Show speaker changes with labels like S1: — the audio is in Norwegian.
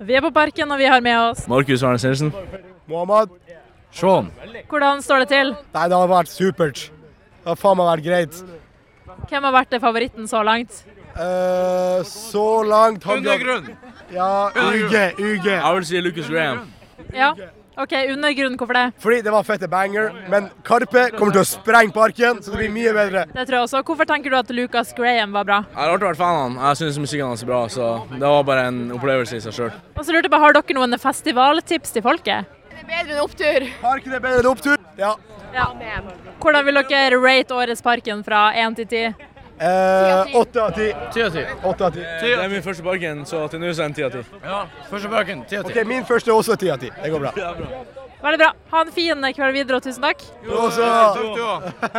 S1: Vi er på Parken, og vi har med oss
S2: Markus Wernes Nilsen.
S3: Mohammed?
S2: Sean.
S1: Hvordan står det til?
S3: Nei, det har vært supert. Det har faen meg vært greit.
S1: Hvem har vært favoritten så langt?
S3: Eh, så langt har vi- Ja, UG, UG.
S2: Jeg vil si Lucas Graham.
S1: Ja? OK, undergrunn, hvorfor det?
S3: Fordi det var fette banger, men Karpe kommer til å sprenge parken, så det blir mye bedre.
S1: Det tror jeg også. Hvorfor tenker du at Lucas Graham var bra?
S2: Jeg har alltid vært fan av han. Jeg syns musikken hans er bra, så det var bare en opplevelse i seg sjøl.
S1: Og så lurte jeg på, har dere noen festivaltips til folket?
S4: Det er bedre enn opptur.
S3: Parken er bedre enn opptur. Ja.
S1: Ja. Hvordan vil dere rate årets Parken fra 1 til 10?
S3: Eh, Åtte av ti.
S5: Ti av ti.
S3: Åtte av ti.
S2: Det er min første Parken, så til nå er det en ti av ti.
S5: Ja, første bøken. Ti av ti.
S3: Ok, min første er også ti av ti. Det går bra.
S1: Veldig bra. Ha en fin kveld videre, og tusen takk.
S3: Du også.
S5: Takk du også.